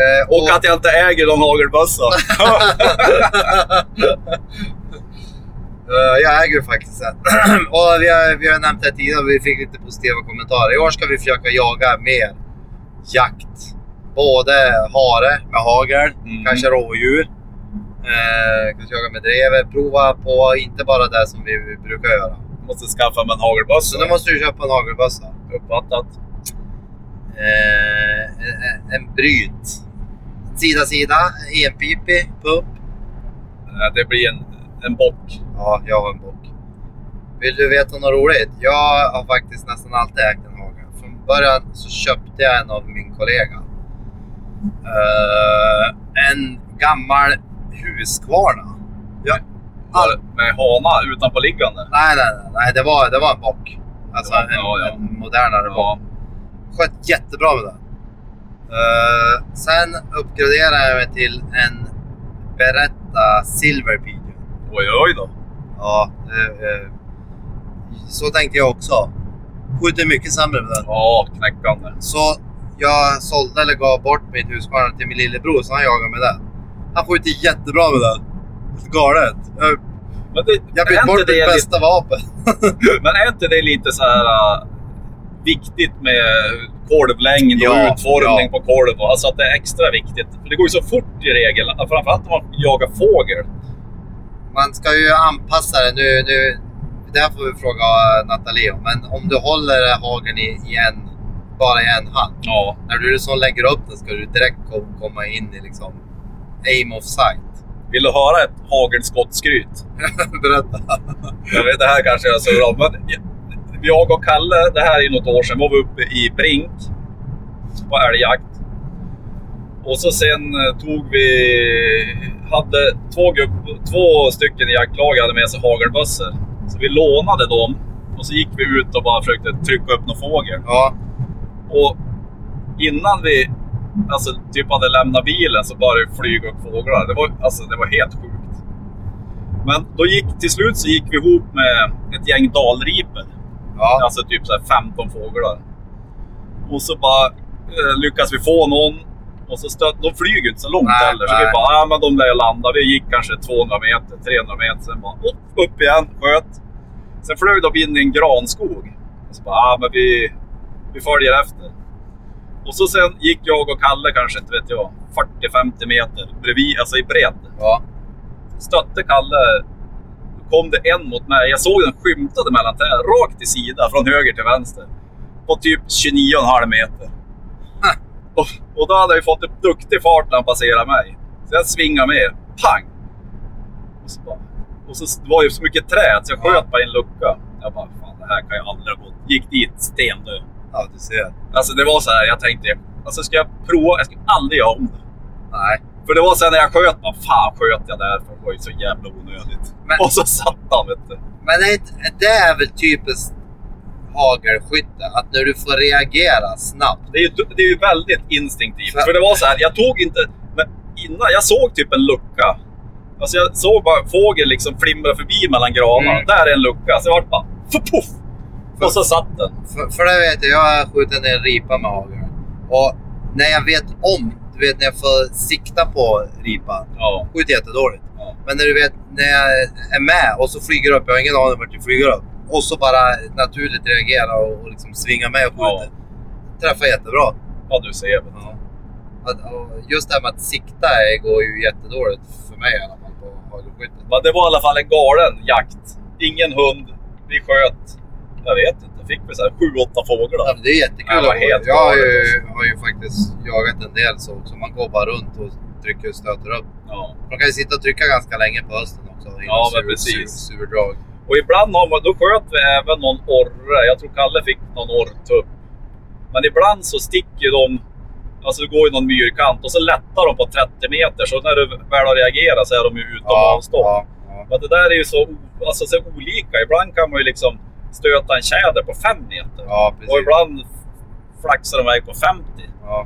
A: Eh,
B: Och att jag inte äger någon hagelbössa.
A: [LAUGHS] Eh, jag äger ju faktiskt en. [CLEARS THROAT] och vi har, vi har nämnt det tidigare, vi fick lite positiva kommentarer. I år ska vi försöka jaga mer jakt. Både hare med hagel,
B: [LAUGHS] Mm.
A: [LAUGHS] kanske rådjur. Eh, kanske jaga med drever. Prova på inte bara det som vi brukar göra.
B: Måste skaffa mig en hagelbössa.
A: Så nu måste du köpa en hagelbössa.
B: Uppfattat.
A: Eh, en- en bryt. Sida sida, enpipig, pump.
B: Eh, Det blir en, en bock.
A: Ja, jag har en bock. Vill du veta något roligt? Jag har faktiskt nästan alltid ägt en hage. Från början så köpte jag en av min kollega. Eh, en gammal huskvarna. Ja. All...
B: Med hana utanpåliggande.
A: Nej, nej, nej, nej. Det var, det var en bock. Alltså
B: Ja,
A: en,
B: ja, ja.
A: en modernare bock.
B: Ja.
A: skött jättebra med den. Eh, sen uppgraderade jag mig till en Beretta Silver Pigeon.
B: Oj, oj då.
A: Ja, eh, eh, så tänkte jag också. Skjuter mycket sämre med den.
B: Ja, knäckande.
A: Så jag sålde eller gav bort mitt husbarn till min lillebror så han jagar med den. Han skjuter jättebra med den. Helt Galet. Jag,
B: Men, det,
A: jag
B: är
A: bytte
B: inte
A: bort
B: det
A: mitt bästa vapen.
B: Lite, men är inte det lite så här äh, viktigt med kolvlängd och
A: Ja,
B: utformning
A: ja.
B: på kolv? och- Alltså att det är extra viktigt. För det går ju så fort i regel. Framförallt om man jagar fågel.
A: Man ska ju anpassa det. Nu, nu, det här får vi fråga Nathalie om. Men om du håller hagen i, i en, bara i en hand.
B: Ja.
A: När du så lägger upp den ska du direkt kom- komma in i liksom aim of sight.
B: Vill du höra ett hagelskottskryt?
A: Berätta.
B: Jag vet, det här kanske jag surrar om, men jag och Kalle, det här är ju något år sedan, var vi uppe i Brink på älgjakt. Och så sen eh, tog vi, hade två, grupp, två stycken i jaktlaget hade med sig hagelbössor. Så vi lånade dem och så gick vi ut och bara försökte trycka upp någon fågel.
A: Ja,
B: Och innan vi alltså, typ hade lämnat bilen så började det flyga upp fåglar. Det var, alltså, det var helt sjukt. Men då gick, till slut så gick vi ihop med ett gäng dalriper.
A: ja,
B: Alltså typ så här 15 fåglar. Och så bara eh, lyckas vi få någon. Och så stöt, de flyger ju inte så långt
A: Nej,
B: heller. Så
A: nej.
B: vi bara, ah, men de lär ju landa. Vi gick kanske 200 meter, 300 meter. Sen bara upp, upp igen, sköt. Sen flög de in i en granskog. Och så bara, ah, men vi, vi följer efter. Och så sen gick jag och Kalle kanske, inte vet jag, 40-50 meter bredvid, alltså i bredd
A: ja.
B: stötte Kalle. kom det en mot mig. Jag såg den skymtade mellan träden, rakt i sida, från höger till vänster. På typ 29,5 meter. Och, och då hade jag ju fått upp duktig fart när han passerade mig. Så jag svingade med. Pang! Och så, bara, och så det var ju så mycket träd så jag sköt bara i en lucka. Jag bara, fan det här kan jag aldrig ha gått. Gick dit, stendöd.
A: Ja, du ser.
B: Alltså det var så här, jag tänkte, alltså ska jag prova? Jag ska aldrig göra om det.
A: Nej.
B: För det var sen när jag sköt, bara, fan sköt jag där? För det var ju så jävla onödigt.
A: Men-
B: Och så satt han vet du.
A: Men det, är inte- det är väl typiskt hagelskytte, att när du får reagera snabbt.
B: Det är ju, det är ju väldigt instinktivt.
A: För-
B: För det var så här, jag tog inte... Men innan, jag såg typ en lucka. Alltså jag såg bara en fågel liksom flimra förbi mellan granarna.
A: Mm.
B: Där är en lucka. Så jag vart bara, puff! Och så satt den.
A: För, för det vet jag, jag har skjutit ner en ripa med hagel. Och när jag vet om, du vet när jag får sikta på ripan,
B: Ja.
A: skjuter jättedåligt.
B: Ja.
A: Men när du vet, när jag är med och så flyger upp, jag har ingen aning om vart du flyger upp. Och så bara naturligt reagera och, och liksom svinga med och skjuta. Träffar jättebra.
B: ja, du ser. väl.
A: Ja. Att, och just det här med att sikta är- går ju jättedåligt för mig i alla fall på hagelskytte.
B: Men det var i alla fall en galen jakt. Ingen hund. Vi sköt, jag vet inte, fick vi så här sju, åtta
A: Ja,
B: fåglar.
A: men Det är jättekul.
B: Ja, det var
A: att-
B: helt
A: jag har
B: galet,
A: ju,
B: alltså.
A: har ju faktiskt jagat en del så också. Man går bara runt och trycker och stöter upp.
B: Ja.
A: De kan ju sitta och trycka ganska länge på hösten också. innan
B: Ja, men
A: sur-
B: precis.
A: sur- Surdrag.
B: Och ibland har man, då sköt vi även någon orre. Jag tror Kalle fick någon orrtupp. Men ibland så sticker ju de, alltså det går ju någon myrkant och så lättar de på 30 meter. Så när du väl har reagerat så är de ju utom avstånd.
A: ja, ja.
B: Men det där är ju så, o- alltså, så olika. Ibland kan man ju liksom stöta en tjäder på 5 meter.
A: ja, precis.
B: och ibland flaxar de iväg på 50.
A: Ja.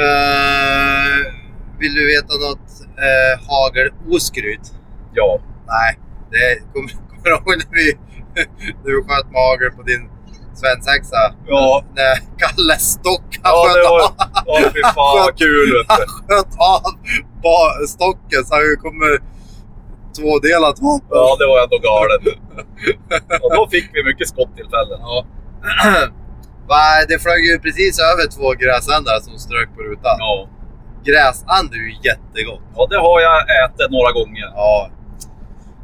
A: Eh, vill du veta något uh, hageloskryt?
B: Ja.
A: Nej, det kommer [LAUGHS] kommer du ihåg när vi, [LAUGHS] när vi sköt med hagel på din svensexa?
B: Ja.
A: När Kalle Stock han
B: Ja, det
A: sköt,
B: var...
A: av, [LAUGHS]
B: Ja, fy fan vad kul vet du.
A: sköt av ba- stocken så han kommer tvådelat vapen.
B: Ja, det var ändå galet. Och då fick vi mycket skottillfällen.
A: Ja. Va, det flög ju precis över två gräsändar som strök på rutan.
B: Ja.
A: Gräsand är ju jättegott.
B: ja, det har jag ätit några gånger.
A: Ja.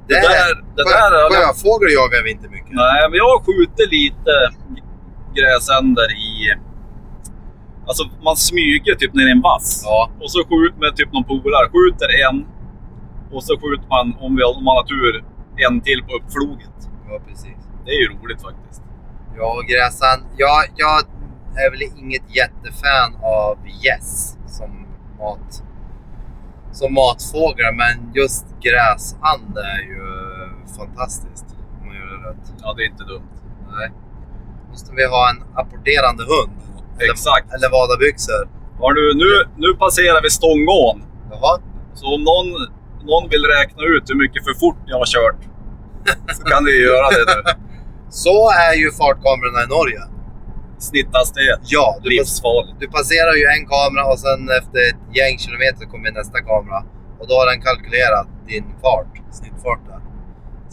B: Det där, det där
A: sjö,
B: har jag,
A: sjöfågel jagar vi inte mycket.
B: nej, men jag har skjutit lite gräsänder i... Alltså man smyger typ ner i en vass.
A: Ja.
B: Och så skjuter med typ någon polare, skjuter en. Och så skjuter man, om, vi, om man har tur, en till på uppfloget.
A: ja, precis.
B: Det är ju roligt faktiskt.
A: Ja, och gräsand. Ja, jag är väl inget jättefan av gäss som mat som matfåglar, men just gräsand är ju fantastiskt. Om man gör det rätt.
B: Ja, det är inte dumt.
A: Nej. Måste vi ha en apporterande hund? Eller-
B: Exakt.
A: Eller vadabyxor?
B: Har du, nu, nu passerar vi Stångån.
A: Jaha.
B: Så om någon, någon vill räkna ut hur mycket för fort jag har kört så kan ni göra det nu.
A: Så är ju fartkamerorna i Norge.
B: Snitthastighet.
A: Ja, du, pass,
B: Livsfarligt.
A: du passerar ju en kamera och sen efter ett gäng kilometer kommer nästa kamera. Och då har den kalkylerat din fart, snittfarten.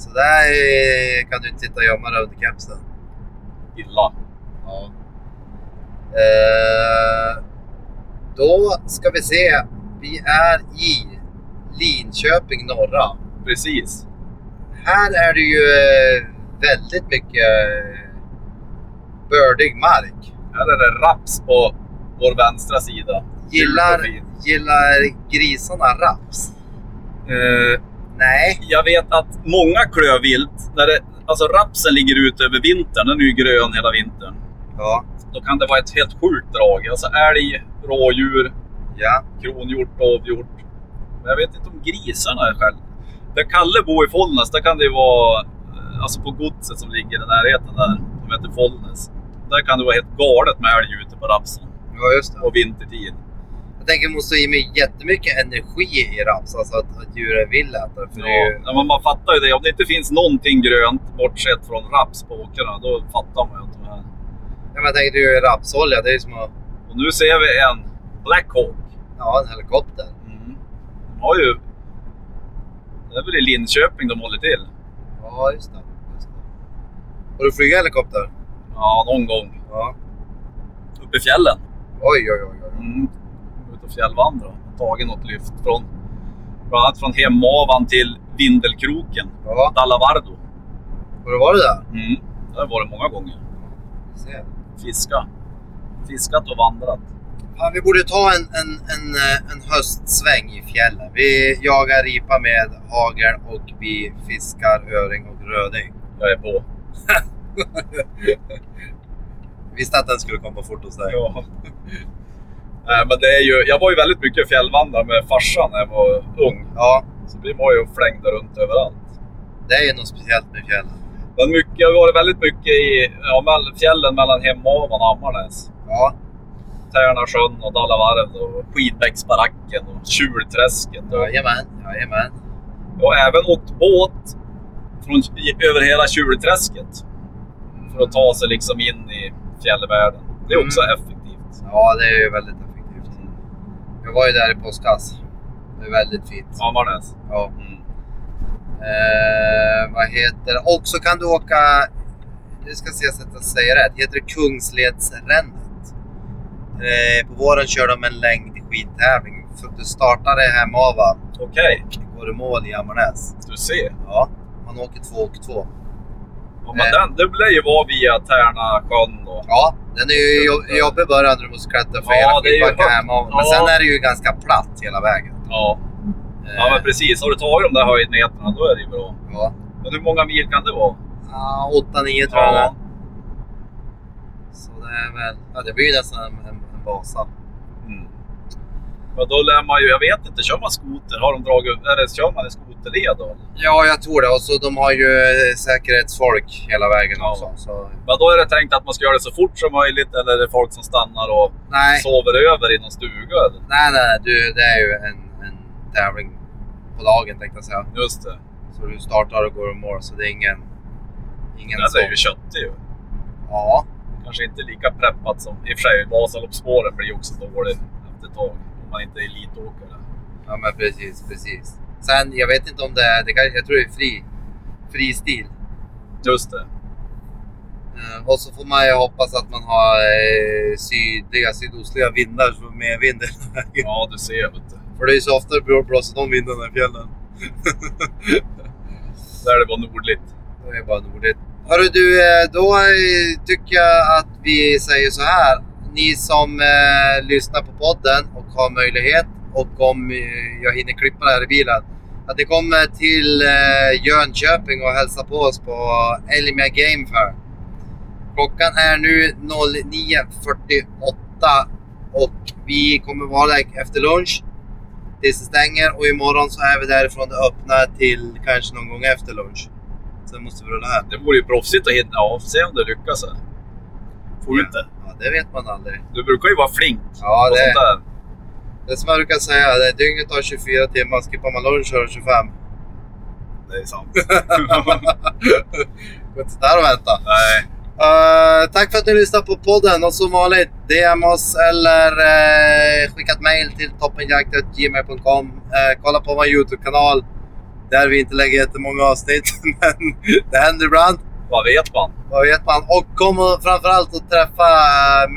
A: Så där eh, kan du inte sitta och gömma dig under kepsen.
B: Illa.
A: Ja. Eh, då ska vi se. Vi är i Linköping norra.
B: Precis.
A: Här är det ju eh, väldigt mycket eh, bördig mark.
B: Här är det raps på vår vänstra sida.
A: Gillar,
B: Gul och fin.
A: gillar grisarna raps?
B: Eh,
A: Nej.
B: jag vet att många klövvilt, när det, alltså rapsen ligger ute över vintern, den är ju grön hela vintern.
A: Ja.
B: Då kan det vara ett helt sjukt drag. Alltså älg, rådjur,
A: Ja.
B: kronhjort, dovhjort. Men jag vet inte om grisarna är själv. Där Kalle bor i Follnäs, där kan det ju vara, eh, alltså på godset som ligger i närheten där, som heter Follnäs. Där kan det vara helt galet med älg ute på rapsen
A: ja, just det.
B: och vintertid.
A: Jag tänker det måste ge mig jättemycket energi i raps, alltså att, att djuren vill äta det. För det är
B: Ja,
A: ju,
B: ja, men man fattar ju det. Om det inte finns någonting grönt bortsett från raps på åkrarna, då fattar man ju att de är...
A: ja, men jag tänker det är ju rapsolja, det är ju som att
B: Och nu ser vi en Black Hawk.
A: ja, en helikopter.
B: Mm. De har ju... Det är väl i Linköping de håller till?
A: Ja, just det. Just det. Har du flugit helikopter?
B: Ja, någon gång.
A: Ja.
B: Uppe i fjällen.
A: Oj, oj, oj. oj.
B: Mm. Ut och fjällvandra. Tagit något lyft från bland annat från Hemavan till Vindelkroken.
A: Ja,
B: Dalavardo.
A: har du varit där?
B: Mm. Där har jag varit många gånger.
A: Vi ser.
B: Fiska. Fiskat och vandrat.
A: Ja, vi borde ta en, en, en, eh, en höstsväng i fjällen. Vi jagar ripa med hagel och vi fiskar öring och röding.
B: Jag är på.
A: [LAUGHS] Visste att den skulle komma fort hos dig.
B: Ja. Nej, men det är ju, jag var ju väldigt mycket fjällvandra med farsan när jag var ung.
A: Ja,
B: Så vi var ju och flängde runt överallt.
A: det är ju något speciellt med fjällen.
B: Men mycket, jag har varit väldigt mycket i ja, mell- fjällen mellan Hemavan och Ammarnäs.
A: Ja,
B: Tärna sjön och Dalavarv och Skidbäcksbaracken och Tjurträsket. Och
A: jajamän, jajamän.
B: Jag har även åkt båt från, i- över hela Tjurträsket för att ta sig liksom in i fjällvärlden. Det är också
A: Mm.
B: effektivt.
A: Ja, det är ju väldigt effektivt. Jag var ju där i påskas. Det är väldigt fint.
B: Ammarnäs.
A: Ja.
B: Mm.
A: Eh, vad heter Och så kan du åka... Nu ska se så att jag säger rätt. Heter det Kungsledsrännet? Eh, på våren kör de en längdskidtävling. Så du startar i Hemava,
B: Okej,
A: går i mål i Ammarnäs.
B: du ser.
A: Ja, man åker två och två.
B: Ja, men den, det blir ju vara via Tärna sjön
A: Eh.
B: och...
A: Ja, den är ju jobb, jobbig i början när du måste klättra för
B: Ja,
A: hela
B: det är ju
A: skidbacken
B: högt.
A: Hemava. Men
B: Ja.
A: sen är det ju ganska platt hela vägen.
B: Ja.
A: Eh,
B: ja, men precis. Har du tagit de där höjdmeterna, då är det ju bra.
A: ja.
B: Men hur många mil kan det vara?
A: Ja, 8-9 tror jag det är. Så det är väl... Ja, det blir ju nästan en, en, en Vasa.
B: Mm. Men då lär man ju... Jag vet inte, kör man skoter? Har de dragit... Eller kör man i skoterled då? eller?
A: Ja, jag tror det. Och så de har ju eh, säkerhetsfolk hela vägen
B: Ja.
A: också. Så,
B: Men då är det tänkt att man ska göra det så fort som möjligt eller är det folk som stannar och
A: nej,
B: sover över i någon stuga? Eller?
A: nej, nej. Du, det är ju en, en tävling på dagen tänkte jag säga.
B: Just det.
A: Så du startar och går och mål. Så det är ingen... Ingen
B: Den är
A: sån.
B: ju köttig ju.
A: Ja.
B: Kanske inte lika preppat som... I och för sig, Vasaloppsspåren blir ju också dålig efter ett tag. Om man inte är elitåkare.
A: ja, men precis, precis. Sen, jag vet inte om det är, det kanske, jag tror det är fri, fri stil.
B: Just det.
A: Eh, Och så får man ju hoppas att man har eh, sydliga, sydostliga vindar som är [LAUGHS] medvind hela vägen.
B: Ja, du ser. Vet du.
A: För det är ju så ofta det blå- blåser de vindarna i fjällen. [LAUGHS]
B: Där det var nordligt.
A: Det är bara nordligt. Hörru du, eh, då eh, tycker jag att vi säger så här. Ni som eh, lyssnar på podden och har möjlighet och om eh, jag hinner klippa det här i bilen. Att ni kommer till eh, Jönköping och hälsar på oss på Elmia Game Fair. Klockan är nu 09.48 och vi kommer vara där efter lunch tills det stänger och imorgon så är vi därifrån det öppnar till kanske någon gång efter lunch. Sen måste vi rulla här.
B: Det vore ju proffsigt att hinna. Ja, se om det lyckas. Här. Får du inte.
A: Ja, det vet man aldrig.
B: Du brukar ju vara flink.
A: Ja,
B: och sånt
A: det,
B: där.
A: det är som jag brukar säga, det är dygnet har 24 timmar, skippar man lunch så har det 25.
B: Det är sant.
A: Gå inte där och vänta.
B: Nej,
A: Eh, tack för att ni lyssnade på podden och som vanligt DM oss eller uh, skicka ett mejl till toppenjakt.gmail.com. Eh, kolla på vår Youtube-kanal där vi inte lägger jättemånga avsnitt, [LAUGHS] men det händer ibland.
B: vad vet man?
A: Vad vet man? Och kom och framförallt att träffa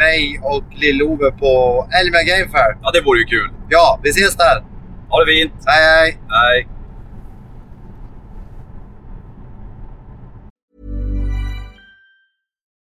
A: mig och Lill-Ove på Elmia Game Fair.
B: Ja, det vore ju kul.
A: Ja, vi ses där!
B: Ha det fint.
A: Hej hej!
B: Nej.